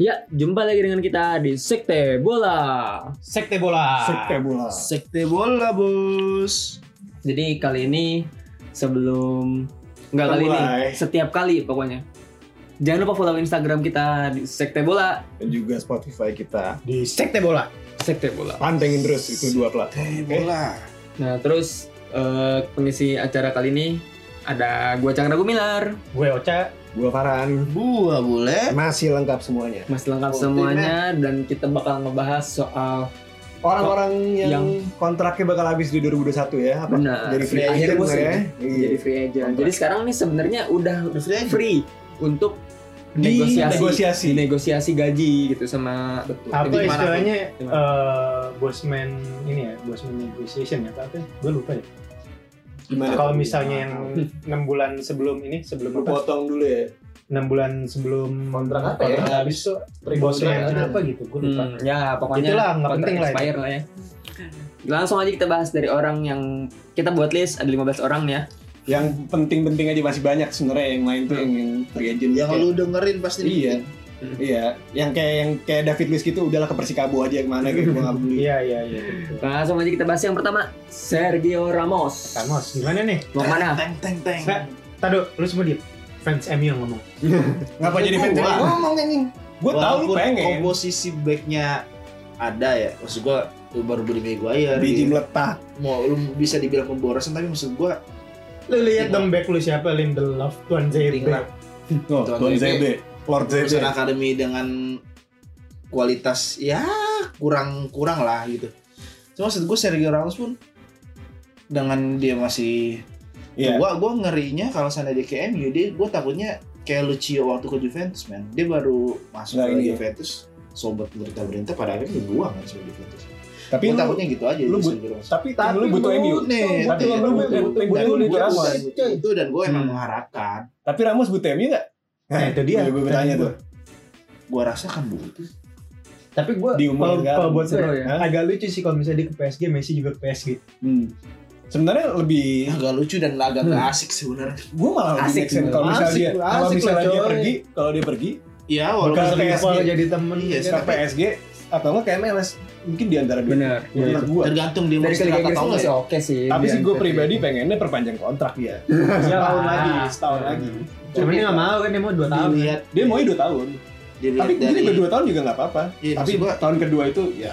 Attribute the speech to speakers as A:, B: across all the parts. A: Ya, jumpa lagi dengan kita di Sekte Bola.
B: Sekte bola.
C: Sekte bola.
A: Sekte Bola, Bos. Jadi kali ini sebelum enggak kali ini,
C: Mulai.
A: setiap kali pokoknya. Jangan lupa follow Instagram kita di Sekte Bola.
C: Dan juga Spotify kita.
B: Di sekte bola.
A: Sekte Bola.
C: Pantengin terus itu dua platform.
D: Eh, bola.
A: Nah, terus eh, pengisi acara kali ini ada gua Chandra Gumilar.
B: Gue Ocha.
C: Gua Farhan.
D: Gua bule.
C: Masih lengkap semuanya.
A: Mas lengkap
D: Oh,
A: semuanya dan kita bakal ngebahas soal
C: Orang-orang yang,
A: Yang-
C: kontraknya bakal habis di 2021 ya. Apa?
A: Benar.
C: Jadi free
D: Akhir
C: agent
D: musim.
C: ya.
A: jadi
C: Iya.
A: free agent. Jadi sekarang nih sebenarnya udah
D: Udah free agent.
A: free untuk
C: Di
A: negosiasi
C: negosiasi.
A: negosiasi gaji gitu sama
B: Apa
A: Jadi gimana?
B: istilahnya
A: Gimana?
B: eh bosman ini ya, bosman negotiation ya apa? apa ya? Gue lupa ya.
C: Gimana
B: Kalau
C: tuh?
B: misalnya yang enam bulan sebelum ini,
C: Lu
B: sebelum apa?
C: potong dulu ya.
B: Enam bulan sebelum
C: Kontrak apa ya?
B: kontrak habis tuh bosnya yang apa gitu? Gue lupa.
A: Hmm, ya pokoknya
B: Itulah, nggak
A: kontrak
B: penting lah itu.
A: expire lah ya. Langsung aja kita bahas dari orang yang kita buat list ada 15 orang nih ya.
C: Yang penting-penting aja masih banyak sebenarnya yang lain tuh yang, yang free agent.
D: Yang
C: Kayak-
D: lu dengerin pasti
C: Iya.
A: Hmm.
C: Iya, yang kayak yang kayak David Luiz gitu udahlah ke Persikabo aja kemana gitu gua nggak peduli.
B: Iya iya iya. gitu.
A: Langsung aja kita bahas yang pertama Sergio Ramos.
B: Ramos iya. gimana nih?
A: Mau mana?
D: Teng teng teng.
B: Sa- Tado, lu semua diem. Fans MU yang ngomong.
C: Ngapa jadi fans
D: Gua.
C: ngomong anjing? Gua tahu lu
D: Walaupun
C: pengen.
D: Komposisi backnya ada ya. Maksud gua lu baru beli Maguire.
C: Biji
D: gitu.
C: meletak.
D: Mau lu bisa dibilang pemborosan tapi maksud gua
B: Lu lihat dong back lu siapa Lindelof, Tuan Zebe.
D: Tinggal.
C: Oh,
D: Tuan
C: Tuan
D: Zebe.
C: Zebe, Lord Zebe.
D: lulusan akademi dengan kualitas ya kurang kurang lah gitu. Cuma maksud gua Sergio Ramos pun dengan dia masih
C: Iya.
D: Gua gua ngerinya kalau sana di ke MU dia gua takutnya kayak Lucio waktu ke Juventus man. Dia baru masuk
C: Nah,
D: ke
C: ini.
D: Juventus sobat berita-berita pada akhirnya dibuang kan sama Juventus.
C: Tapi
D: Gua
C: lu
D: takutnya gitu aja
C: lu
D: dia
C: but-
D: Sergio Ramos.
C: tapi tim lu butuh MU.
D: nih,
C: Tapi lu
D: butuh, butuh,
C: butuh
D: butuh.
C: butuh
D: Dan
C: lu
D: gua
C: Ramos.
D: butuh itu dan gua emang
A: Hmm.
D: mengharapkan
C: Tapi Ramos butuh MU enggak?
B: Nah, itu dia.
C: Gue bertanya tuh.
D: gua rasakan butuh.
B: Tapi gue
C: Di umur
B: kalau
C: sekarang.
B: kalau buat
A: Seru
B: gue
A: ya.
B: agak lucu sih kalau misalnya dia ke PSG, Messi juga ke PSG.
C: Hmm. Sebenarnya lebih
D: Agak lucu dan
C: Hmm.
D: agak gak asik sebenarnya.
C: gue malah lebih
A: Asik
C: make sense kalau
B: sebenarnya.
C: misalnya dia
B: Asik,
C: kalau
B: asik
C: misalnya
B: lah,
C: dia
B: coy.
C: pergi, kalau dia pergi
D: Iya,
C: Bukan
D: walaupun
B: Bekas
C: PSG.
B: rival jadi temen. ya kan?
D: Iya,
C: ke PSG atau enggak ke MLS mungkin di antara dua.
A: Bener.
B: Iya.
C: Menurut gua.
D: tergantung dia mau
A: Dari Liga
D: istirahat
A: Inggris
D: atau
A: tuh
D: enggak. ya.
A: masih oke sih.
C: Tapi
A: dia
C: sih gue
A: hampir-
C: pribadi pengennya perpanjang kontrak dia.
B: Iya
C: Setahun
B: lah.
C: lagi, setahun lagi.
B: Cuman dia nggak mau kan dia mau 2 tahun.
D: Dilihat,
C: Dia mau 2 tahun.
D: dilihat
C: Tapi
D: dari
C: ini kedua tahun juga nggak apa-apa.
D: Iya,
C: Tapi
D: maksud gua-
C: tahun kedua itu ya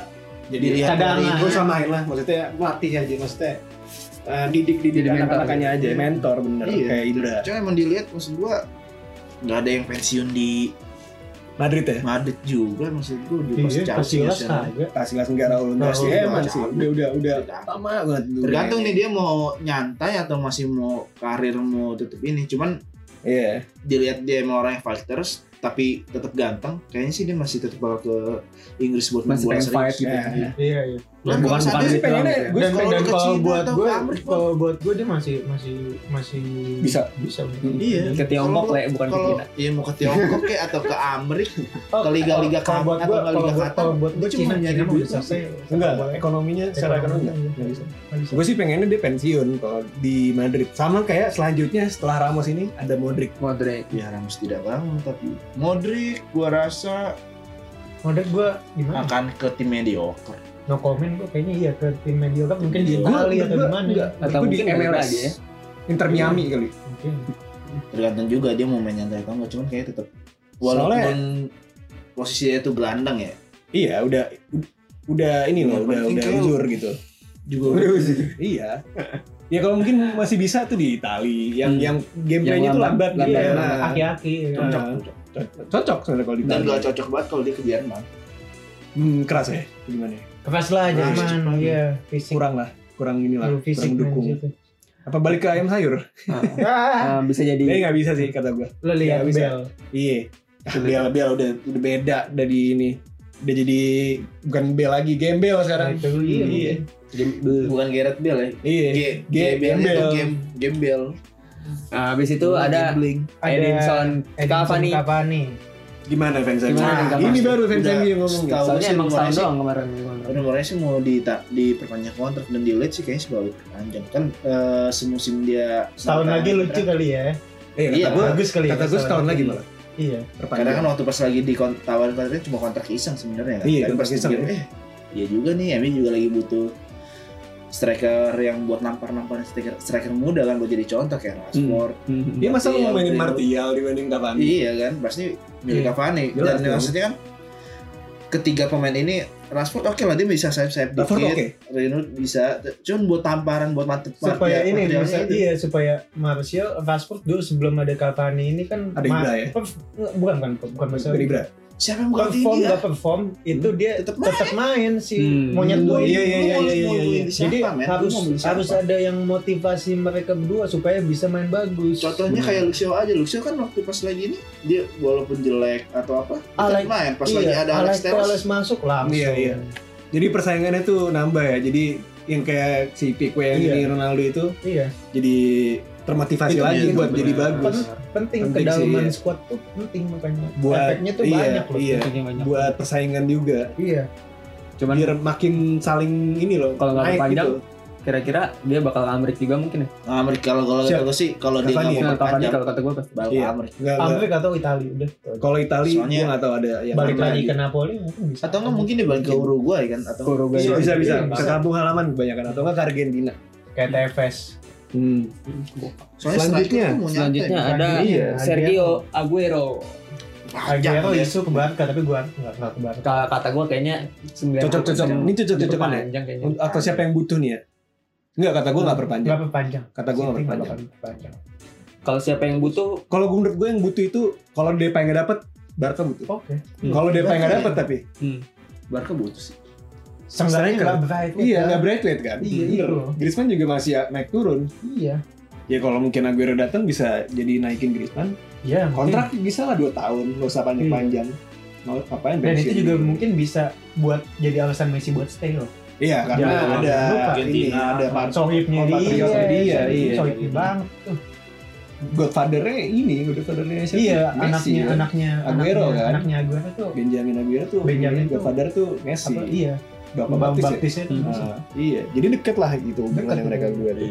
C: jadi
D: Dilihat dari
B: Cadangan.
C: gue samain lah maksudnya melatih aja maksudnya eh, didik didik
A: Jadi mentor.
C: anak-anaknya aja mentor bener
D: Iya.
C: kayak Indra
D: Cuma emang dilihat maksud gua nggak ada yang pensiun di
C: Madrid ya
D: Madrid juga maksud gua di pas
B: Iya,
D: Chelsea ya,
B: Casillas
D: sana.
B: kagak.
C: Kasih langsung gara ulun
B: Nah,
C: sih
B: ulun
C: emang
D: cabut.
C: sih eh, udah udah udah
D: Tergantung.
C: lama banget dulu.
D: Tergantung nih dia mau nyantai atau masih mau karir mau tutup ini. Cuman
C: Iya
D: dilihat dia emang orang yang fighters tapi tetap ganteng, kayaknya sih dia masih tetap bakal ke Inggris buat
A: masih
D: membuat
A: pengen fight
D: serius.
A: gitu.
C: Iya.
B: Iya, iya.
A: Ya, bukan
D: Kalau
A: bukan
D: sampai
A: gitu. doang
C: pengennya
A: gitu ya.
C: gue
B: Dan,
D: kalau
B: dan
D: lu ke
B: kalau
D: Cina
B: buat
D: atau
B: gue,
D: ke Amerika,
B: kalau buat gue dia masih masih masih
C: Bisa.
B: bisa.
D: Iya.
A: Ke Tiongkok
D: Kalau-
A: lah ya, bukan ke
D: Kalau
A: Cina.
D: iya mau ke Tiongkok kek atau ke Amerika
B: Oh,
D: ke liga-liga
B: kalau buat
D: Qatar atau
B: gue,
D: ke
B: kalau
D: liga
B: buat
D: Qatar,
B: kalau buat
D: dia
B: gue
D: cuma
B: Cina
D: nyari
B: Cina
D: duit
B: udah selesai.
C: enggak
B: Boleh.
C: ekonominya secara ekonomi
B: Ekonominya
C: nggak bisa
B: Nggak bisa.
C: gue sih pengennya dia pensiun kalau di Madrid sama kayak selanjutnya setelah Ramos ini ada Modric
A: Modric.
D: ya Ramos tidak bangun tapi Modric gua rasa
B: Modal gue gimana?
D: akan ke tim mediocre
B: No comment gue kayaknya iya ke tim mediocre mungkin di
D: Gua-
B: Itali atau
C: gua-
B: di mana.
C: enggak.
A: Atau
C: Gua di
A: mungkin balik
C: MLS.
A: lagi ya.
C: Inter Miami kali ya.
B: Mungkin.
D: tergantung juga dia mau main nyantai atau enggak cuman kayaknya tetap walaupun posisi dia itu gelandang ya
C: Iya, udah udah ini loh,
D: Yang
C: udah
D: penting
C: udah
D: kayak-
C: uzur gitu.
D: juga
C: Iya. Ya kalau mungkin masih bisa tuh di Itali
A: Hmm.
C: yang yang
A: Yang
C: gameplaynya tuh
A: lambat-
C: lambat
A: lambat.
C: gitu. ya.
B: Iya,
C: Nah,
B: aki-aki. ya.
D: cocok
C: cocok- Cocok sebenarnya kalau di
D: dan
C: Itali.
D: gak cocok banget kalau dia ke Jerman
C: Hmm, keras ya. Gimana ya?
B: Keras lah Jerman,
D: Nah,
B: iya fisik.
C: Kurang lah, kurang inilah,
B: Kurang fisik
C: kurang dukung.
B: main situ.
C: Apa balik ke ayam sayur?
B: Ah,
A: Ah, bisa jadi
C: Eh nggak bisa sih kata gua.
B: Lo lihat
C: Nggak bisa.
B: Bel.
C: Iya. Ah, Bel Bel udah udah beda dari ini. Udah jadi bukan Bel lagi, Gembel sekarang.
B: Itu iya.
C: Iya.
A: Gembel.
D: bukan Gerard Bell ya
C: Iya.
D: G
C: Ge-
D: Gembel itu
C: Gembel.
D: game Gembel
A: Ah, Habis itu ada
D: Gambling.
B: Ada
A: Edinson
B: Edinson
A: Cavani.
B: Cavani.
C: Gimana fans MU?
A: Gimana
C: Nah,
A: fans
C: ini
A: MU?
C: baru fans
D: Udah
C: MU yang ngomong.
D: setahun.
A: Soalnya
D: sih
A: emang
D: gua
A: setahun
D: rasa-
A: doang kemarin. kemarin.
D: Pada Moraes sih mau dita- diperpanjang kontrak dan di Leeds sih kayaknya sebagai panjang kan eh, semusim dia
B: Setahun
D: mantan-
B: lagi lucu kali ya.
C: Eh,
D: Iya,
C: kata gue,
B: Bagus kali ya.
C: kata gue setahun lagi ya, malah.
B: Iya.
D: Karena kan
C: Perpanjang.
D: waktu pas lagi ditawarin kontraknya cuma kontrak iseng sebenarnya kan.
C: Iya,
D: Tapi
C: kontrak
D: pas
C: iseng,
D: dipikir, eh iya juga nih, Emi juga lagi butuh striker yang buat nampar-namparin striker, striker muda kan buat jadi contoh kayak Rashford.
A: Hmm.
C: Dia masa lu mau mainin
D: Iya,
C: Martial dibanding Cavani?
D: Iya kan, pasti milik
C: Iya.
D: Cavani.
C: Jelas,
D: Dan
C: jelas.
D: maksudnya kan ketiga pemain ini Rashford oke lah dia bisa sayap-sayap dikit,
C: Rashford oke.
D: Reynold bisa, cuman buat tamparan buat mantep
B: supaya ini
D: Martial
B: bisa,
D: itu.
B: iya supaya Martial Rashford dulu sebelum ada Cavani ini kan
C: Ada Ibra ya?
B: perf- bukan bukan bukan masalah
C: Dari Ibra.
D: Siapa yang bukan
B: perform
D: dia?
B: nggak perform itu dia
D: Tetep
B: tetap
D: main.
B: main, si
A: Hmm.
B: monyet
C: Iya,
B: boy
C: iya, iya, iya, iya, iya.
B: jadi harus harus ada yang motivasi mereka berdua supaya bisa main bagus
D: Contohnya kayak Lucio aja, Lucio kan waktu pas lagi ini dia walaupun jelek atau apa, tetap
B: Alex-
D: main pas
B: Iya,
D: lagi ada Alex Teres.
B: Telles masuk langsung
C: Iya, iya. Jadi persaingannya tuh nambah ya. Jadi yang kayak si Pique yang
B: Iya.
C: ini Ronaldo itu
B: Iya,
C: jadi termotivasi
D: Itu
C: lagi
A: iya,
D: bener,
C: buat
A: Hmm.
D: itu
C: jadi
D: bener.
C: bagus.
B: Pen- penting,
C: Penting
B: kedalaman
C: sih, iya.
B: squad tuh penting makanya
C: Buat-
B: efeknya tuh
C: iya,
B: banyak loh
C: iya.
A: Efeknya banyak.
C: Buat persaingan juga.
B: iya
A: Cuman
C: Biar makin saling ini loh.
A: Kalau nggak
C: naik
A: perpanjang,
C: gitu.
A: kira-kira dia bakal Amrik juga mungkin ya.
D: Nah, Amerika kalau kalau
C: Siap.
D: kata gue sih kalau dia
C: Cavani,
A: Nah,
D: nggak mau
A: Cavani
D: perpanjang
A: kalau kata gue pasti.
D: bakal
C: Iya, Iya.
D: Amerika.
C: Nggak, nggak.
B: Amerika atau Italia udah
C: Kalau Itali
D: Soalnya-
C: gue nggak tahu ada yang
B: balik
C: mana
B: lagi
C: lagi.
B: ke Napoli mungkin bisa
D: Atau nggak mungkin dia balik ke Uruguay kan? Atau
A: Uruguay.
C: Bisa bisa bisa.
B: Iya,
C: Ke
B: bisa.
C: kampung halaman kebanyakan atau nggak ke Argentina.
B: kayak TFS
C: Hmm. Selanjutnya,
D: soalnya striker tuh ya? mau nyantai.
A: Selanjutnya
C: Iya,
B: Bukan
A: ada
B: dia,
A: Sergio Aguero.
D: panjang
B: Aguero
D: ya.
B: isu ke Barca tapi gua nggak nggak ke Barca
A: Kalau kata gue kayaknya sembilan.
C: Cocok cocok. Ini cocok cocokan ya.
A: Panjang kayaknya.
C: Atau siapa yang butuh nih ya? Enggak kata gue nggak perpanjang.
B: nggak perpanjang
C: Kata gue nggak
B: City nggak
C: perpanjang.
B: bakal perpanjang
A: Kalau siapa yang butuh
C: Kalau gue menurut gue yang butuh itu kalau DP nggak dapet Barca butuh.
B: oke
A: Hmm.
C: Kalau DP nggak
D: Barca
C: dapet tapi
D: Barca butuh sih.
B: Seenggaknya
C: Striker.
B: nggak bright
C: iya nggak Braithwaite kan.
B: Iya,
C: Bener.
B: itu.
C: Griezmann juga masih ya- naik turun.
B: iya
C: Ya kalau mungkin Aguero datang bisa jadi naikin Griezmann.
B: iya mungkin.
C: Kontrak bisa lah 2 tahun, nggak usah panjang-panjang. Mau ngapain
B: Hmm. dan itu
C: pensiun.
B: juga mungkin bisa buat jadi alasan Messi buat stay loh
C: Iya, karena
B: Ya, Jangan
C: ada
B: lupa.
C: ini,
D: Argentina,
C: ada part
B: sohibnya
C: kontrak
B: dia
C: Rio Kan dia,
B: sohib-
C: iya.
B: sohibnya banget tuh.
C: Godfather-nya ini, Godfather-nya siapa?
B: iya
C: Messi,
B: anaknya
C: kan?
B: anaknya
C: Aguero,
B: anaknya-
C: kan?
B: anaknya Aguero tuh
C: Benjamin Aguero tuh,
B: Benjamin tuh-
C: Godfather tuh Messi,
B: apa iya
C: Bapak
B: Bang
C: Baptis ya?
B: Baptisnya tuh
A: Hmm.
B: Messi.
C: Ah, iya, jadi deket lah gitu hubungannya
B: Deket.
C: mereka berdua tuh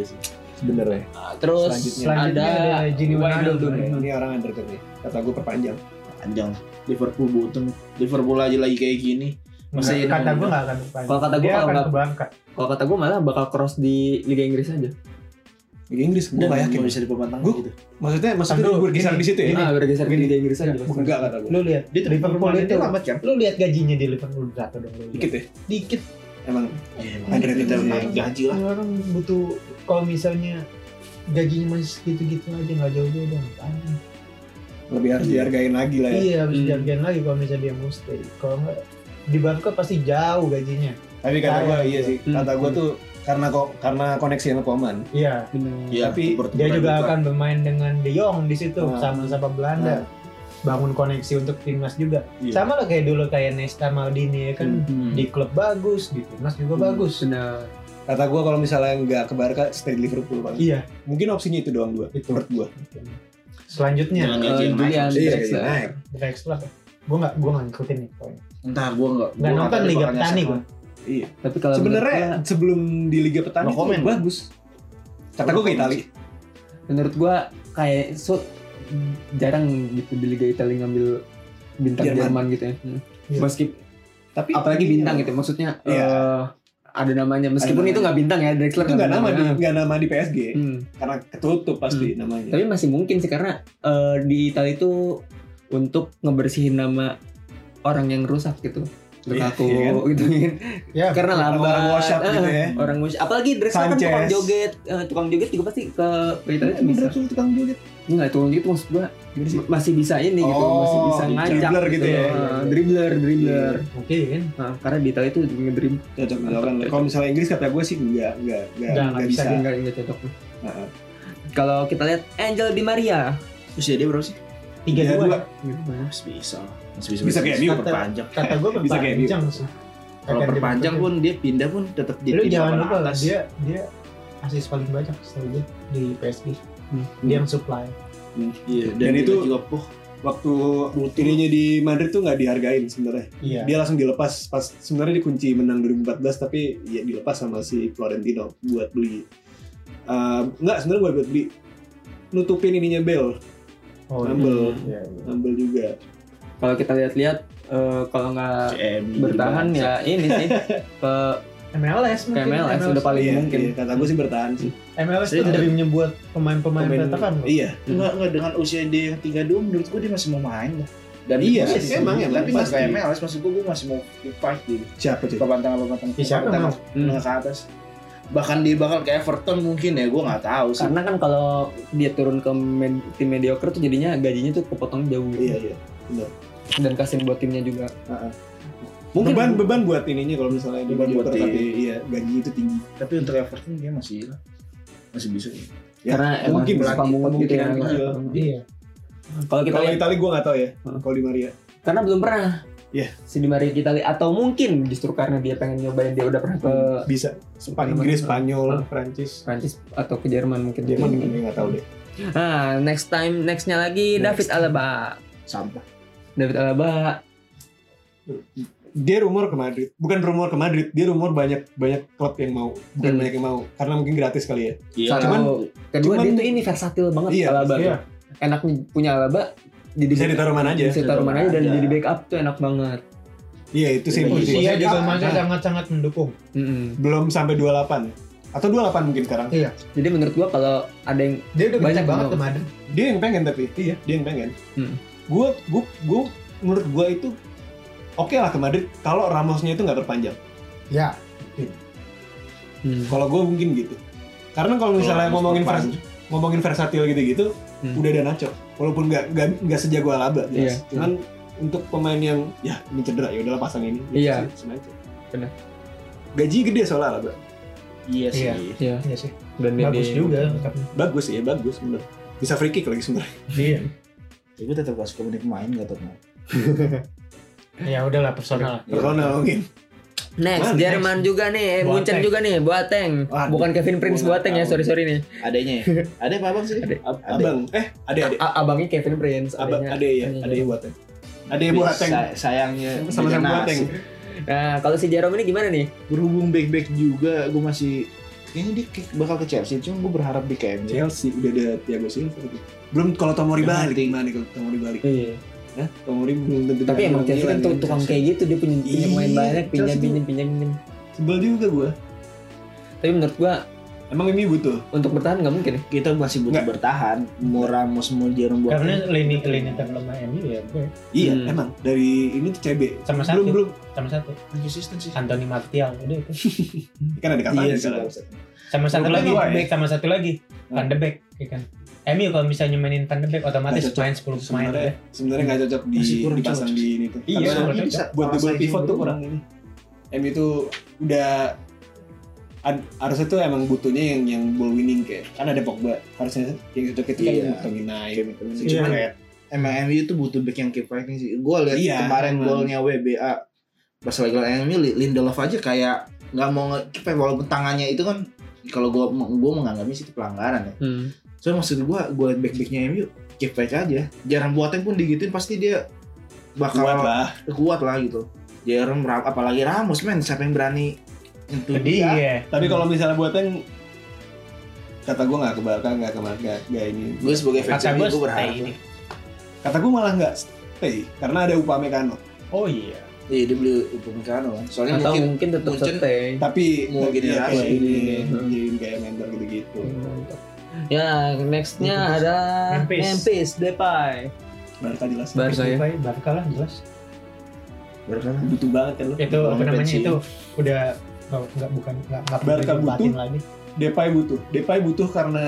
C: sebenarnya.
A: Nah, terus
B: Selanjutnya ada
A: ada
B: Gini Wijnaldum.
A: Wijnaldum.
C: Ini orang undercut nih, kata gue perpanjang.
D: Panjang. Liverpool butuh. Liverpool aja lagi kayak gini. Masa
B: Nggak,
D: iya
B: kata
D: dong?
B: gue nggak akan perpanjang
A: Kalau kata gua
B: dia
A: kalau
B: akan
A: nggak-
B: ke Barca
A: Kalau kata gue malah bakal cross di Liga Inggris aja.
C: Liga Inggris, gue
D: Dan
C: gak yakin.
D: nggak bisa diperpanjang
C: Gua-
D: gitu.
C: Maksudnya, maksudnya
B: Sandro,
C: berkisar
B: gini,
C: di situ ya?
A: Nah, bergeser ke
C: Gini. Iya.
A: Liga Inggris aja. pasti.
C: Enggak kata gue.
B: lu lihat
D: Dia tuh
B: Liverpool itu Iya,
D: lambat kan?
B: lu lihat gajinya di Liverpool berapa dong lu lihat?
C: Dikit ya?
B: dikit iya.
C: Emang
D: Andre
C: Andre
D: kita
C: Tete.
D: Iya, gaji lah.
B: orang butuh kalau misalnya gajinya masih gitu-gitu aja nggak jauh beda ngapain?
C: lebih harus dihargain lagi lah ya.
B: iya harus
A: Hmm.
B: dihargain lagi kalau misalnya dia mau stay kalau nggak di Barca pasti jauh gajinya
C: Tapi kata gue
B: Sayang.
C: iya sih, kata gue
A: Hmm.
C: tuh karena kok karena koneksi sama Koman.
B: iya
A: Bener.
D: Ya,
C: Tapi
D: Hubert
B: dia juga
D: Hubert.
B: akan bermain dengan De Jong di situ
C: Nah.
B: sama sama Belanda bangun koneksi untuk timnas juga
C: Iya.
B: sama lah kayak dulu kayak Nesta Maldini ya kan
A: Hmm.
B: di klub bagus di timnas juga
C: Hmm.
B: bagus
A: Bener.
C: Kata gue kalau misalnya nggak ke Barca, stay di Liverpool paling.
B: iya
C: Mungkin opsinya itu doang dua,
B: Itu.
C: menurut gue.
B: selanjutnya
D: Jangan
A: Eh,
D: gaji yang naik.
A: Julian
D: Iya.
C: Iya,
A: Drexler.
C: naik.
B: Drexler gue nggak gue nggak ngikutin nih pokoknya
D: Entah gue nggak.
B: nggak
D: gua
B: nonton
D: ada
B: Liga
D: orangnya
B: Petani
D: sama.
B: gue
C: Iya.
A: Tapi kalau menurut
C: Sebenarnya sebelum di Liga Petani
D: No comment.
C: itu bagus. Kata gue
D: No
C: ke
D: comment.
C: Itali.
A: gua- menurut gue kayak so jarang gitu di Liga Italia ngambil bintang
C: Jerman.
A: Jerman, gitu ya. Hmm.
B: Iya.
A: Meskip-
C: Tapi
A: apalagi bintang gitu maksudnya
C: Iya.
A: eh, ada namanya meskipun
C: Ada
A: itu nggak bintang ya Drexler
C: Itu nggak
A: nggak
C: nama di
A: bintang.
C: nggak nama di PSG
A: Hmm.
C: karena ketutup pasti namanya.
A: Tapi masih mungkin sih karena eh, di Italia itu untuk ngebersihin nama orang yang rusak gitu. Lukaku
C: Iya, iya
A: gitu kan.
B: ya
A: Karena lama
C: Orang WhatsApp gitu ya.
A: Orang wash. Apalagi Drexler kan
C: Sanchez. Iya,
A: tukang joget, Eh, tukang joget juga pasti ke ke Italia tuh bisa.
C: Bener tuh tukang joget.
A: Enggak, tukang joget maksud gua ma- masih bisa ini gitu,
C: Oh,
A: masih bisa
C: dribbler
A: ngajak
C: gitu ya. Iya.
A: Eh, dribbler, dribbler.
B: mungkin
A: Nah, karena di Italia itu ngedrib
C: Cocok misalkan. Kalau misalnya Inggris kata gue sih nggak nggak nggak
B: Nggak,
C: nggak
B: nggak
C: bisa.
B: bisa.
A: enggak enggak cocok.
C: Heeh.
A: Kalau kita lihat Angel Di Maria.
D: Usia ya dia berapa sih?
B: tiga
C: Tiga,
B: dua
C: dua.
D: Masih bisa. lah. Masih bisa.
C: Bisa kayak Miu.
D: perpanjang.
B: kata gue
C: Bisa kayak dia.
B: perpanjang sih
D: Kalau
B: Kata dia
D: perpanjang pun dia pindah pun tetap di
B: lu
D: tim
B: jangan
D: papan
B: lupa lah
D: atas.
B: dia dia asis paling banyak setahu gue di PSG
A: Hmm.
B: dia yang supply
D: Iya, dan,
C: Dan
D: itu
C: itu-
D: juga poh
C: waktu dirinya di Madrid tuh nggak dihargain sebenarnya.
B: Iya.
C: Dia langsung dilepas pas sebenarnya dikunci menang 2014 tapi ya dilepas sama si Florentino buat beli Eh, nggak sebenarnya buat buat beli nutupin ininya Bell,
B: Oh,
C: Humble.
B: iya.
C: Humble juga.
A: Kalau kita lihat-lihat eh, kalau nggak bertahan ya ini sih ke
B: MLS
A: ke
B: mungkin.
A: MLS udah paling
C: Iya,
A: mungkin.
C: iya, kata gue sih bertahan sih.
B: MLS
D: Saya
B: tuh demi membuat pemain-pemain
C: Pemain-
B: veteran. loh.
C: Iya,
D: Enggak, enggak dengan usia dia yang 32 menurut gue dia masih mau main lah.
A: Dan
B: ya,
C: Iya,
A: itu
C: sih,
A: sih.
C: emang, emang.
D: Tapi pas
C: Pasti.
D: kayak MLS maksud gue gue masih mau fight di
C: siapa sih?
D: papan tangan papan tangan.
B: Ya, Iya. siapa
D: Papan
B: mau?
D: tangan
A: hmm,
D: menengah ke atas. Bahkan dia bakal ke Everton mungkin ya, gue nggak tahu sih.
A: Karena kan kalau dia turun ke med- tim mediocre tuh jadinya gajinya tuh kepotong jauh gitu.
C: Iya, iya.
A: Dan kasihan buat timnya juga. Mungkin-
C: Mungkin beban beban buat ininya kalau misalnya dia
D: Beban buat
C: mediocre,
D: tim.
C: tapi iya gaji itu tinggi.
D: Tapi untuk Everton dia masih masih bisa.
C: Ya,
A: Karena emang
C: mungkin
A: suka
C: lagi,
A: mungut gitu ya.
C: kemungkinan kecil.
B: Iya.
A: Kalau kita
C: Kalau
A: lihat
C: Itali gue nggak tahu ya.
A: Heeh.
C: Kalau di Maria.
A: karena belum pernah.
C: Iya.
A: Si Di Maria kita lihat atau mungkin justru karena dia pengen nyobain dia udah pernah ke
C: bisa Spanyol,
A: Teman-
C: Inggris, Spanyol,
A: Heeh.
C: Prancis,
A: Prancis atau ke Jerman mungkin.
C: Jerman gue nggak tahu deh.
A: Nah, next time nextnya lagi David Alaba.
D: Sampah.
A: David Alaba
C: Dia rumor ke Madrid, bukan rumor ke Madrid, dia rumor banyak banyak klub yang mau, bukan
A: Hmm.
C: banyak yang mau, karena mungkin gratis kali ya.
D: Iya.
A: satu,
C: cuman-
A: kedua
C: cuman-
A: dia tuh ini versatil banget
C: Iya,
A: Alaba.
B: iya.
A: Enaknya punya Alaba jadi
C: Bisa ya, ditaruh mana aja.
A: Iya. Bisa ditaruh mana aja dan
D: Ada.
A: jadi backup tuh enak banget.
C: Iya itu sih.
D: Iya,
C: menurut gue.
B: Usia juga
D: Iya.
B: masih sangat-sangat mendukung.
A: Mm-mm.
C: Belum sampai 28 ya. atau 28 mungkin sekarang.
A: Jadi menurut gua kalau ada yang
B: Dia
A: Banyak
B: udah banyak banget
A: banget.
B: kemarin.
C: Dia yang pengen tapi, iya dia yang pengen.
A: Hmm.
C: Gue gue gue menurut gue itu oke lah ke Madrid kalau Ramosnya itu nggak terpanjang.
B: Ya.
A: hmm,
C: Kalau gue mungkin gitu. Karena kalau misalnya
D: Kalau
C: ngomongin
D: Ramos
C: vers ngomongin versatil gitu-gitu,
A: Hmm.
C: udah ada Nacho. Walaupun nggak nggak nggak sejago Alaba, jelas.
A: Iya.
C: Cuman untuk pemain yang ya ini cedera ya udahlah pasang ini. Gitu
A: Iya.
C: sih, sebenarnya.
A: Benar.
C: Gaji gede soalnya Alaba.
D: Iya sih.
B: Iya. Iya sih.
A: dan dia
B: Bagus
A: di-
B: juga lengkapnya.
C: Bagus ya, bagus bener. Bisa free kick lagi sebenarnya.
B: Iya.
D: Tapi gue tetap gak suka menit main gak tau kenapa.
B: Ya udahlah personal.
D: Iya.
C: Personal mungkin.
A: Next
C: Mana?
A: Jerman juga nih, eh,
B: Boateng.
A: Munchen juga nih, Boateng.
C: Waduh.
A: Bukan Kevin Prince
C: Gua nggak
A: Boateng ya,
C: tahu.
A: sorry sorry nih.
D: Adanya ya? Ada apa abang sih?
A: Ade.
D: Ab-
C: Abang, eh ade ade.
A: A- abangnya Kevin Prince.
C: Abang
A: adanya.
C: ade ya,
A: adanya.
C: ade buatan. Ade
D: Tapi
C: buatan.
D: say- sayangnya
C: Sama-sama
D: Eh, beda
C: buatan.
D: nasib.
A: Nah, kalau si Jerome ini gimana nih?
D: Berhubung back-back juga gue masih Kayaknya dia ke- bakal ke Chelsea, cuma gue berharap di KM
C: Chelsea udah ada Thiago Silva. gitu. Belum kalau Tomori
D: Yang
C: balik
D: penting. Eh,
C: gimana nih kalau Tomori balik?
A: Iya.
C: Hah? Tomori belum tentu.
A: Tapi
C: datang
A: emang Chelsea
C: Milan
A: kan tuh
C: ya.
A: tukang kayak gitu, dia punya punya main
C: Iya,
A: banyak, pinjam
C: Chelsea tuh-
A: pinjam pinjam pinjam.
C: Sebel juga gue.
A: Tapi menurut gua
C: Emang ini butuh.
A: untuk bertahan nggak mungkin. ya.
D: Kita masih butuh
C: Nggak.
D: bertahan Mau Ramos, mau Jerome Boateng
B: Karena lini lini terlemah MU ya gue
C: Iya,
A: Hmm.
C: emang dari ini tuh CB. belum
B: Sama satu.
C: belum
B: sama satu
D: konsisten sih
B: Anthony Martial udah itu.
C: kan ada katanya
D: Iya
C: kan.
D: sih
B: Sama satu
C: Belum
B: lagi
C: kedua ya?
B: back sama satu lagi
C: Nah.
B: Van de Beek ya kan. MU kalau misalnya mainin Van de Beek otomatis
C: Nggak cocok.
B: main 10 pemain
C: Sebenarnya
B: ya.
C: sebenarnya nggak cocok di
D: Masih kurang
C: dipasang
D: cocok.
C: di ini tuh.
B: Iya,
C: Karena
B: kurang
C: ini
B: cocok.
C: buat double pivot tuh
D: Kurang
C: kurang ini. M itu udah ad- harusnya tuh emang butuhnya yang yang ball winning kayak kan ada Pogba harusnya yang cocok itu kan
D: Iya.
C: yang Tonginai
B: Iya.
D: Cuman
C: Cuman
D: emang MU itu butuh back yang keep fighting sih. Gue lihat
C: Iya,
D: kemarin
C: emang.
D: golnya WBA pas lagi lawan MU Li- Lindelof aja kayak nggak mau nge-keep ya, walaupun tangannya itu kan kalau gue gue menganggapnya sih itu pelanggaran ya.
A: Hmm.
D: So maksud gue gue liat back backnya MU keep fight aja. Jarang buatan pun digituin pasti dia bakal
C: kuat
D: kuat lah,
C: lah
D: gitu. Jarang Ram- apalagi Ramos men siapa yang berani itu
B: Jadi ya.
C: tapi kalau misalnya buatan kata gue nggak ke Barca nggak ke Barca nggak ini
D: Gue sebagai fans
B: kata
D: MU gue
B: gue stay
D: berharap.
B: ini.
C: kata gue malah nggak stay karena ada Upamecano
B: Oh iya.
D: Iya dia beli Upamecano kan. Soalnya
A: Atau
D: mungkin
A: mungkin tetap
D: Munchen-
A: stay.
C: tapi
D: Mau gini Hmm.
C: ya,
D: aja.
C: kayak ini
A: Hmm.
C: jadi kayak mentor gitu-gitu
A: Ya, nextnya
B: Memphis.
A: ada
B: Memphis.
A: Memphis. Depay.
C: Barca jelas
A: Barca ya.
B: Supaya Barca lah jelas.
D: berharap.
C: butuh banget kan lo
B: Itu
D: Kalau
B: apa namanya
D: bensin.
B: itu udah nggak nggak bukan nggak nggak perlu
C: Barca
B: didebatin lagi.
C: Depay butuh. Depay butuh karena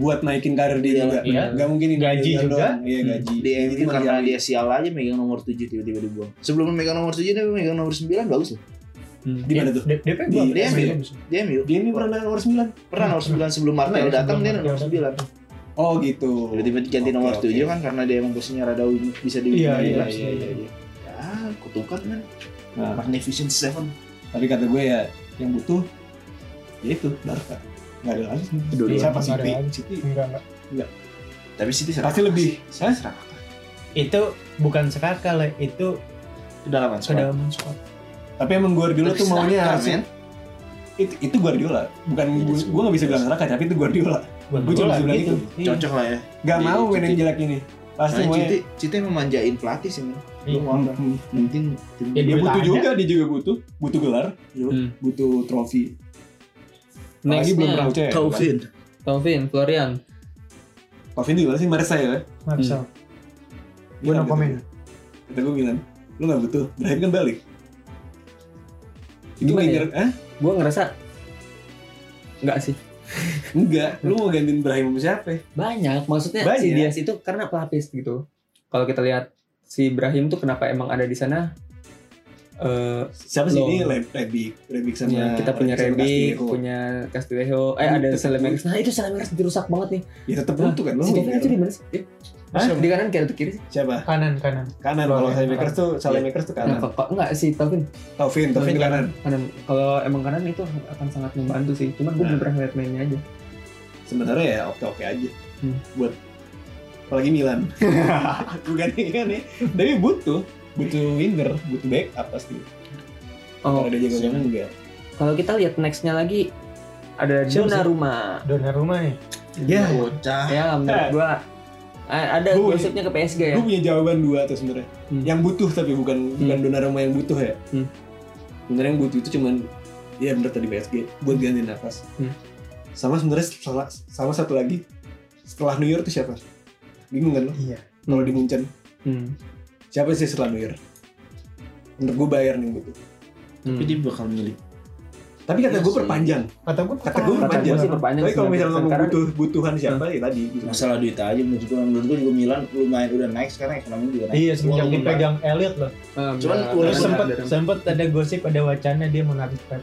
C: buat naikin karir dia
D: Iya, Hmm.
C: juga.
B: iya.
C: Gak mungkin ini
B: Gaji
C: doang.
B: juga.
C: Iya gaji.
D: di MU
C: Itu
D: karena
C: masih
D: dia sial aja megang nomor 7 tiba-tiba dibuang. Sebelum megang nomor 7 dia megang nomor 9 bagus loh.
A: Hmm.
C: Di mana tuh?
B: Dia dia kan
C: Di
B: gua-
D: DM ya?
B: dia bagus.
D: Dia MU
C: Dia ini pernah nomor 9.
D: pernah nomor 9 sebelum Martial
B: Pernah ya,
D: datang dia
B: sebelum
D: nomor 9.
C: Oh gitu.
D: Tiba-tiba ganti
C: Oke,
D: nomor
C: oke.
D: 7 kan karena dia emang posisinya rada wing- bisa di
B: Iya,
D: wing
B: iya,
D: left.
B: iya, iya, iya.
D: Ya, kutukan kan.
C: Nah.
D: Magnificent Seven.
C: Tapi kata gue ya yang butuh ya itu Barca. Gak ada lagi.
D: Kedua-duanya
C: Siapa
B: nggak ada
C: City?
B: lagi.
C: City
B: Enggak enggak.
D: Tapi City
C: pasti lebih. Hah?
D: Serak.
B: itu bukan Saka lah itu
D: kedalaman squad.
B: kedalaman squad
C: Tapi emang Guardiola tuh maunya
D: Saka,
C: harus
D: kan, men.
C: itu, itu Guardiola, bukan
D: Iya,
C: gue
D: semua.
C: gua nggak bisa bilang Raka, tapi itu Guardiola.
B: bukan
C: Gua cuma
B: bola
C: bilang
B: gitu. Iya.
D: cocok lah ya
C: Gak
D: Iya,
C: mau main yang
D: Citi.
C: jelek ini. Pasti
D: Soalnya
C: mau Hmm.
D: Citi, Citi emang manjain pelatih sih men
B: Iya.
D: Lu mau apa? Penting tim
B: Ya,
C: Dia
B: duit
C: butuh
B: ada.
C: juga, dia juga butuh, butuh gelar,
A: Hmm.
C: butuh trofi. Apalagi belum
A: Nextnya
C: pernah UCL. kan?
D: Taufin
A: Taufin Florian.
C: Taufin juga sih Marseille ya. Gua
B: Marcel Gua no
C: gitu.
B: comment.
C: Kata gue bilang, lu gak butuh, Brahim kan balik. Itu
A: Gimana
C: Wenger, ah
A: Gue ngerasa nggak sih
C: enggak, lu mau gantiin Brahim sama siapa?
A: banyak. Maksudnya
C: Banyak.
A: si Dias itu karena pelapis gitu. Kalau kita lihat si Ibrahim tuh kenapa emang ada di sana? Eh,
C: Siapa sih
A: Lo.
C: ini? Leb- Rebik, Rebik sama
A: ya, kita punya
C: sama
A: Rebi,
C: Castillejo.
A: punya Castillejo, eh
C: Hmm,
A: ada
C: tetep.
A: Selemers. Nah itu Selemers dirusak banget nih.
C: Ya tetep
A: Nah,
C: butuh kan, lu
A: Si Kevin itu
C: Wenger.
A: di mana sih? Eh,
C: Hah?
A: Di kanan kiri atau kiri sih?
C: Siapa?
B: kanan kanan
C: Kanan,
B: Lo,
C: kalau
B: ya,
C: saya Makers tuh, Saleh
A: Iya.
C: Makers tuh
A: Nah,
C: kanan.
A: kok- kok enggak si Taufin
C: Taufin, Taufin
A: Taufin
C: ke kanan.
A: kanan. Kalau emang kanan itu akan sangat membantu sih. Cuman gue
C: Nah.
A: belum pernah lihat mainnya aja.
C: Sebenarnya ya oke-oke aja.
A: Hmm.
C: Buat apalagi Milan. Bukan kan ya. Tapi butuh, butuh winger, butuh backup pasti.
A: Oh,
C: Kalau dia jago jago enggak.
A: Kalau kita lihat nextnya lagi ada
B: Siapa
A: Dona
B: sih?
A: Rumah.
B: Donnarumma nih Iya.
C: Ya,
D: bocah
A: Ya menurut gua a- ada
C: Gua-
A: gosipnya ke PSG ya.
C: gue punya jawaban dua tuh sebenarnya.
A: Hmm.
C: Yang butuh tapi bukan bukan Donnarumma yang butuh ya.
A: Hmm.
C: Sebenarnya yang butuh itu cuman ya bener tadi PSG buat ganti nafas.
A: Hmm.
C: Sama sebenarnya setelah- sama satu lagi setelah New York tuh siapa? Bingung kan lo?
B: iya
C: Kalau di Munchen
A: Hmm.
C: siapa sih setelah New Year? Menurut gue Bayern yang butuh.
A: Hmm.
D: tapi dia bakal milih
C: gitu. Tapi kata
D: Iya
C: gue
D: sih.
C: perpanjang.
B: kata gue
C: Kata gue
A: Kata
C: perpanjang.
A: gua sih perpanjang
C: Tapi kalau
A: sebenarnya.
C: misalnya ngomong
A: Karena-
C: butuh butuhan siapa ya tadi. gitu.
D: masalah duit aja menurut gua menurut gua juga Milan lumayan udah naik sekarang ekonomi juga naik
B: iya semenjak
D: Walaupun
B: dipegang Elliot loh
A: Ah, benar,
D: Cuman Terus
B: terus
A: benar,
B: sempet
A: benar.
B: sempet ada gosip ada wacana dia mau narik Pep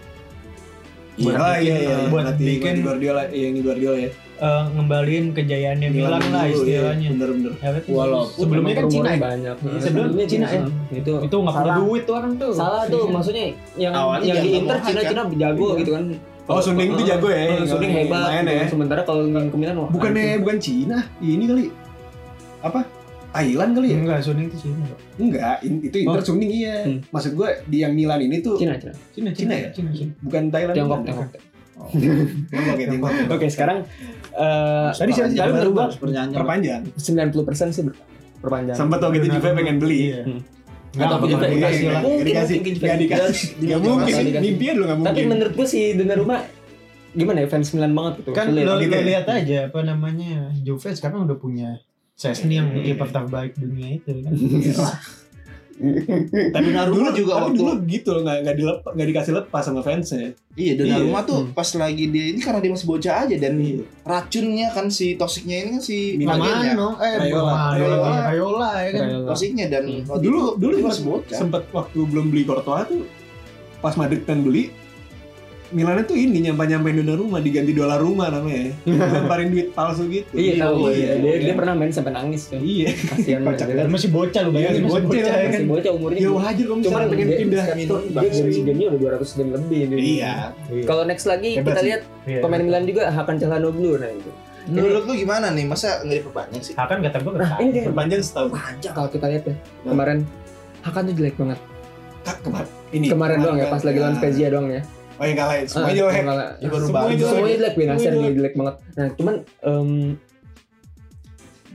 C: Buat
D: Iya.
C: ah, iya, iya, iya.
B: buat
C: Nanti
B: bikin-
C: di Guardiola, iya, yang di Guardiola ya.
B: Eh, ngembaliin kejayaannya Milan lah
C: dulu, iya,
B: istilahnya
C: Bener-bener.
B: Ya, kan?
D: Walaupun
B: sebelumnya kan
A: Rumornya
B: Cina ya?
A: banyak.
B: Sebelumnya
A: Sebelumnya
B: Cina ya?
A: Itu
B: itu nggak punya
A: salah.
B: duit tuh orang tuh
A: Salah tuh maksudnya yang
D: Awalnya
A: yang di
D: jangan
A: Inter
D: ngomong,
A: Cina-Cina jago
C: Iya.
A: gitu kan.
C: Oh, Suning tuh jago ya.
A: Oh,
C: yang
A: Suning
C: orang
A: hebat.
C: main ya.
A: gitu. Sementara kalau yang ke Milan wah,
C: Bukannya
A: anjing.
C: bukan Cina, ini kali apa? Thailand kali ya?
B: enggak Suning itu Cina Pak.
C: Enggak, in- itu Inter
A: Hmm. Oh.
C: Suning iya.
A: Hmm.
C: Maksud gue di yang Milan ini tuh
A: Cina Cina.
B: Cina
C: Cina ya?
B: Cina Cina
C: bukan Thailand.
A: Tiongkok
C: bukan.
A: Tiongkok.
C: Oh. Tiongkok ya, Tiongkok.
A: Oke, sekarang eh
C: Tadi siapa sih?
A: tapi menurut gua
D: harus perjanjian
C: Perpanjang.
A: 90% sih ber- perpanjangan.
C: Sempat tau gitu Juve pengen beli.
B: Iya.
A: Hmm.
B: nggak
A: Atau
B: apa
A: Juve
B: dikasih
A: dikasih
B: lah
A: lah. Mungkin, mungkin Juve.
C: Gak dikasih. Gak mungkin.
A: Nggak dikasih.
C: Mimpinya dulu gak
A: Tapi
C: mungkin.
A: menurut gua sih Donnarumma gimana ya fans Milan banget gitu.
B: kan
A: Sulit.
B: lo,
C: gitu
B: lo
C: ya?
B: lihat aja apa namanya Juve sekarang udah punya Sesni
C: Hmm.
B: yang kiper terbaik dunia itu kan
D: tapi Donnarumma juga
C: tapi
D: waktu
C: Iya. dulu gitu loh nggak nggak dilep- nggak dikasih lepas sama fansnya
D: iya Donnarumma
A: Iya.
D: tuh pas lagi dia ini karena dia masih bocah aja dan
C: Iya.
D: racunnya kan si toksiknya ini kan si
C: Minamino.
D: agennya.
B: Romano eh
C: Raiola.
B: Rayola Rayola ya kan
A: Raiola.
D: Toksiknya dan waktu
C: Hmm. dulu
D: itu
C: dulu
D: dia masih
C: sempet,
D: bocah
C: sempet waktu belum beli Courtois tuh pas Madrid pengen beli Milan tuh ini nyampa nyampein donor rumah diganti dolar rumah namanya lemparin duit palsu gitu
A: Iya tahu. Iya,
C: iya,
A: dia,
C: iya.
A: dia pernah main sampai nangis kan.
C: iya
A: Kasihan
C: Kocak
A: banget.
B: masih bocah lu
C: Iya,
B: bayangin masih
C: bocah,
B: bocah ya kan
A: Masih bocah umurnya. gitu.
C: ya wajar kalau
A: Cuman
C: misalnya pengen
A: dia-
C: pindah
A: dia- gitu. dia dari game-nya udah 200 game lebih. dia.
C: iya
A: Kalau next lagi
C: Hebat
A: kita
C: sih.
A: lihat
B: Iya.
A: pemain Milan juga Hakan Calhanoglu nah itu.
D: menurut lu gimana nih masa nggak diperpanjang sih
B: Hakan kata gue
A: Nah, ini dia
C: perpanjang setahun
D: panjang
A: kalau kita lihat ya
C: Nah.
A: kemarin Hakan tuh jelek banget.
C: Kak, kemar ini
A: Kemarin doang ya
C: kan?
A: pas lagi lawan
C: Nah.
A: Spezia doang ya.
C: oh yang kalah semuanya
A: Ah,
C: jelek
A: malah-
D: Ya, baru
C: Semuanya
D: banget.
C: jelek.
A: semuanya jelek Benasir
C: Semuanya
A: dia jelek banget nah cuman em,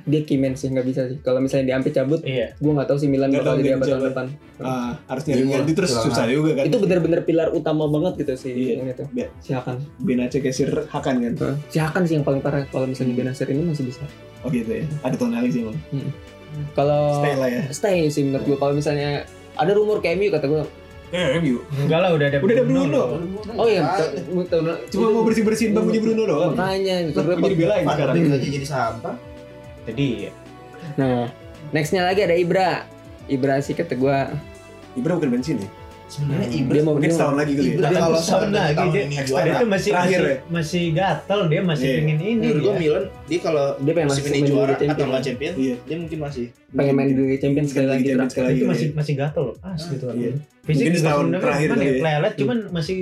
A: dia kimen sih nggak bisa sih kalau misalnya dia sampai cabut
B: iya
A: gue nggak tahu sih Milan
C: Nggak
A: bakal
C: tahu
A: jadi
C: dia
A: apa tahun
C: menjabat.
A: depan
C: Ah, harus nyari
D: Iya,
C: ganti terus
D: silakan.
C: susah juga kan
A: itu bener-bener pilar utama banget gitu sih
C: Iya.
A: yang itu
C: Iya.
A: si Hakan
C: Benace Kesir Hakan kan
A: Heeh. si Hakan sih yang paling parah kalau
C: Hmm.
A: misalnya Benasir ini masih bisa
C: oh gitu ya ada Tonali sih emang
A: kalau
C: stay lah ya
A: stay sih menurut gue kalau misalnya ada rumor kayak MU kata gue
C: eh MU
B: enggak lah udah ada
C: Udah ada Bruno.
B: loh.
A: oh iya
D: Ah,
A: ta- gua tahu lah.
C: cuma mau bersih bersihin bangunnya Bruno doang
A: makanya
C: Lah,
A: menurut
C: kok
A: gua
C: jadi belain
D: Van
C: sekarang
D: Dijk aja jadi sampah
B: jadi ya
A: nah nextnya lagi ada Ibra Ibra sih kata gue
C: Ibra bukan bensin ya
D: sebenarnya
B: Hmm.
D: Ibra
A: dia mau
C: mungkin
A: dia mau-
C: setahun lagi kali ya
D: Ibra
B: Dia
D: kalau
B: tahun
D: seandainya
B: lagi
D: tahun
B: dia-
D: ini
B: dia
D: juara
B: tuh masih
C: Terakhir
B: masih,
C: ya?
B: masih gatel dia masih
C: Iya.
B: pingin ini
D: menurut gua
B: dia.
D: Milan dia kalau
A: dia pengen
D: musim
A: masuk
D: ini
A: main di
D: juara
A: Liga Champions.
D: atau nggak champion
C: Iya.
D: dia mungkin masih
A: pengen main di
C: Mungkin-
A: Liga Champions sekali
C: Liga
A: lagi
C: Champions
A: terakhir.
C: sekali lagi.
B: itu
C: Iya,
B: masih
C: iya.
B: masih gatel loh as gitu
C: Iya.
B: orangnya. fisik
C: Mungkin
B: juga
C: setahun
B: sebenarnya
C: terakhir
B: cuman
C: kali
B: ya
C: ya.
B: lelet cuman masih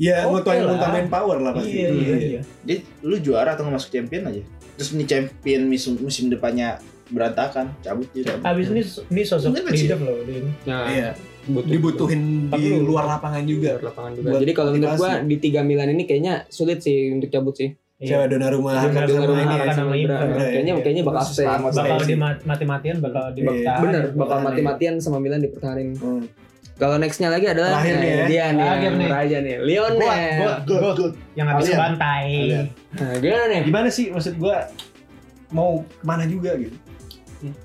C: Iya,
B: Oke
C: mutuain
B: lah.
C: utamain power lah pasti.
B: iya iya
C: Hmm.
B: iya
D: jadi lu juara atau nggak masuk champion aja terus ini champion musim musim depannya berantakan cabut dia cabut.
B: Abis ini ini sosok
E: Mungkin kecil.
B: leader loh Din.
A: Nah,
E: Iya.
A: butuh-
C: dibutuhin
B: Tapi
C: di
B: lu-
C: luar lapangan juga.
A: Buat lapangan juga.
C: Buat
A: Jadi kalau menurut gua
C: motivasi.
A: di tiga Milan ini kayaknya sulit sih untuk cabut sih.
C: Coba
B: Iya.
C: dona rumah
B: Donnarumma
C: sama
A: Donnarumma
C: ini.
B: akan- sama
A: Ibra.
B: Ibra.
A: Kayaknya
B: Iya.
A: kayaknya bakal stay.
D: Selamat
B: Bakal
D: stay.
B: di mati-matian bakal di
C: Iya.
A: Bener, bakal
C: Bertahan,
A: mati-matian sama Milan dipertahanin.
C: Hmm.
A: Kalau nextnya lagi adalah
C: Terakhir nih ya.
A: dia nih,
B: Terakhir nih.
A: raja nih, Lionel.
D: Good, good.
B: yang habis
D: Kalian.
B: bantai.
D: Kalian.
A: Nah, gimana nih?
C: Gimana sih maksud gua mau kemana juga gitu.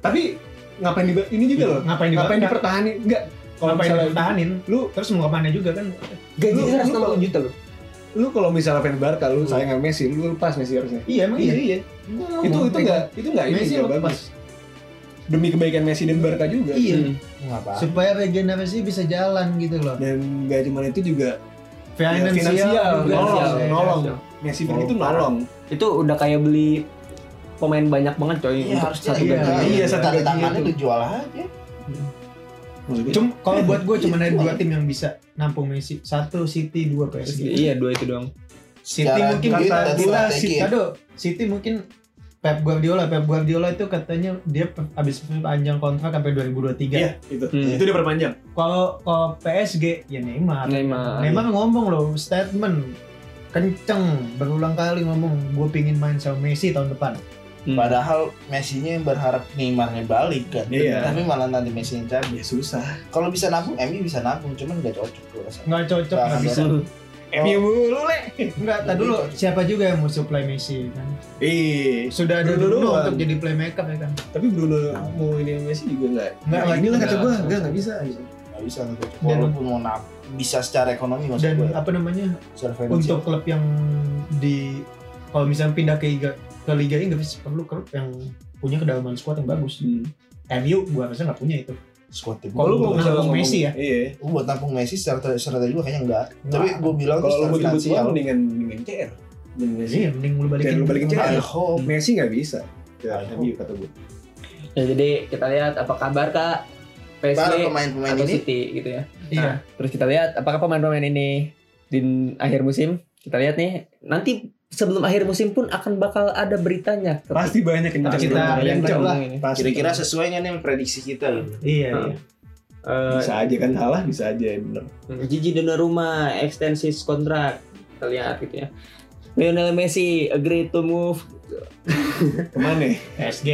C: Tapi ngapain di ini juga Gitu loh.
B: Ngapain
C: Ngapain
B: di ngapain
C: dipertahani? Enggak. Kalau misalnya
B: dipertahanin?
C: lu
B: Terus mau kemana juga kan?
A: Gaji
C: Lu-
A: 160 juta loh.
C: lu kalau misalnya fan Barca lu sayang sama Messi, lu lepas Messi harusnya.
B: Iya emang iya.
C: iya. Itu itu enggak itu enggak ini
B: Messi
C: nggak
B: lepas.
C: bagus. Demi kebaikan Messi dan Barca juga.
B: Iya.
A: Hmm.
D: Ngapa?
B: Supaya regenerasi bisa jalan gitu loh.
C: Dan gak cuma itu juga
B: Finansial,
C: Iya, finansial,
B: juga.
C: nolong,
B: Iya.
C: nolong. Messi
A: Oh,
C: itu
A: parah.
C: nolong.
A: Itu udah kayak beli pemain banyak banget coy
D: Iya
A: untuk
D: harusnya
A: satu
D: iya,
A: gaji.
C: gaji. Iya, satu
D: Tanda
C: gaji
D: tangannya
C: itu.
D: lu jual aja.
B: Cum,
C: Iya.
B: kalau buat gue cuma ada dua tim yang bisa nampung Messi. Satu City, dua PSG.
A: Iya, dua itu doang.
B: City
D: Secara
B: mungkin
C: gitu,
D: duit
B: kata
D: dan
B: gua,
D: strategi.
B: City, aduh, City mungkin Pep Guardiola, Pep Guardiola itu katanya dia pe- habis panjang kontrak sampai 2023.
C: Iya, itu.
A: Hmm.
C: Itu udah perpanjang.
B: Kalau kalau PSG ya Neymar.
A: Neymar.
B: Neymar ngomong loh statement kenceng berulang kali ngomong gue pingin main sama Messi tahun depan.
A: Hmm.
D: Padahal Messi-nya berharap Neymarnya balik kan.
C: Iya.
D: Tapi malah nanti Messi yang cabut.
C: Ya susah.
D: Kalau bisa nabung, MU bisa nabung, cuman nggak cocok gue rasa.
B: Nggak cocok, nggak bisa.
D: Nah, Oh.
C: MU mulu le.
B: Nggak, tak dulu siapa juga yang mau supply Messi kan?
C: Eh,
B: Sudah ada
C: Bruno
B: Bruno
C: doang.
B: untuk jadi playmaker ya kan?
C: tapi Bruno mau ini sama Messi juga enggak.
B: Nggak,
C: Nah,
B: nggak.
C: inilah kata
A: Nggak,
C: gua,
A: susah.
C: enggak enggak bisa.
D: Nggak bisa nggak cocok.
B: Dan-
D: Walaupun mau nabung, bisa secara ekonomi maksud ya.
B: Dan
D: gue.
B: apa namanya
D: Survei
B: untuk klub yang di kalau misalnya pindah ke liga ke liga Inggris perlu klub yang punya kedalaman squad yang bagus. MU gua rasa nggak punya itu.
D: squad tim.
B: Kalau lu
C: misalnya
B: mau ngomong
C: ngomong-
B: Messi ya,
C: Iya.
D: Lu buat nampung Messi secara secara tadi juga kayaknya enggak. Tapi
B: Nggak.
D: gue bilang tuh
C: Kalau lu
D: secara
C: butuh butuh
D: finansial.
C: mendingan mendingan CR. Mendingan Messi.
B: iya mending lu balikin.
C: Dan lu balikin
D: I
C: CR.
D: hope
C: Messi enggak bisa. Ya,
D: Aduh.
C: MU kata gua.
A: Ya, jadi kita lihat apa kabar Kak
D: para
A: PSG
D: pemain-pemain
A: atau
D: ini
A: City gitu ya.
B: Iya.
A: Terus kita lihat apakah pemain-pemain ini di akhir musim kita lihat nih nanti sebelum akhir musim pun akan bakal ada beritanya.
C: Pasti banyak yang
B: Kita-
C: cocok. Yang
B: kita- kita-
C: cocok.
B: lah.
C: Pasti.
D: kira-kira sesuai nggak nih sama prediksi kita gitu.
B: Iya,
A: Nah.
B: iya.
A: Eh,
C: bisa aja kan salah bisa aja ya bener
A: Hmm. Gigi Donnarumma extensis kontrak kita lihat gitu ya. Lionel Messi agree to move.
C: kemana ya?
B: PSG.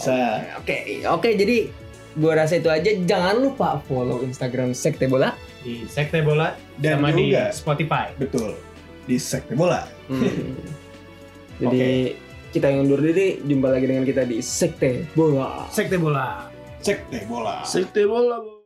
C: bisa
A: Oke, oke jadi gua rasa itu aja. Jangan lupa follow Instagram Sekte Bola.
B: di Sekte Bola
C: dan
B: sama di
C: juga
B: Spotify.
C: betul di sekte bola
A: jadi kita yang undur diri, jumpa lagi dengan kita di Sekte Bola.
B: Sekte Bola.
C: sekte bola
D: Sekte bola. Bang.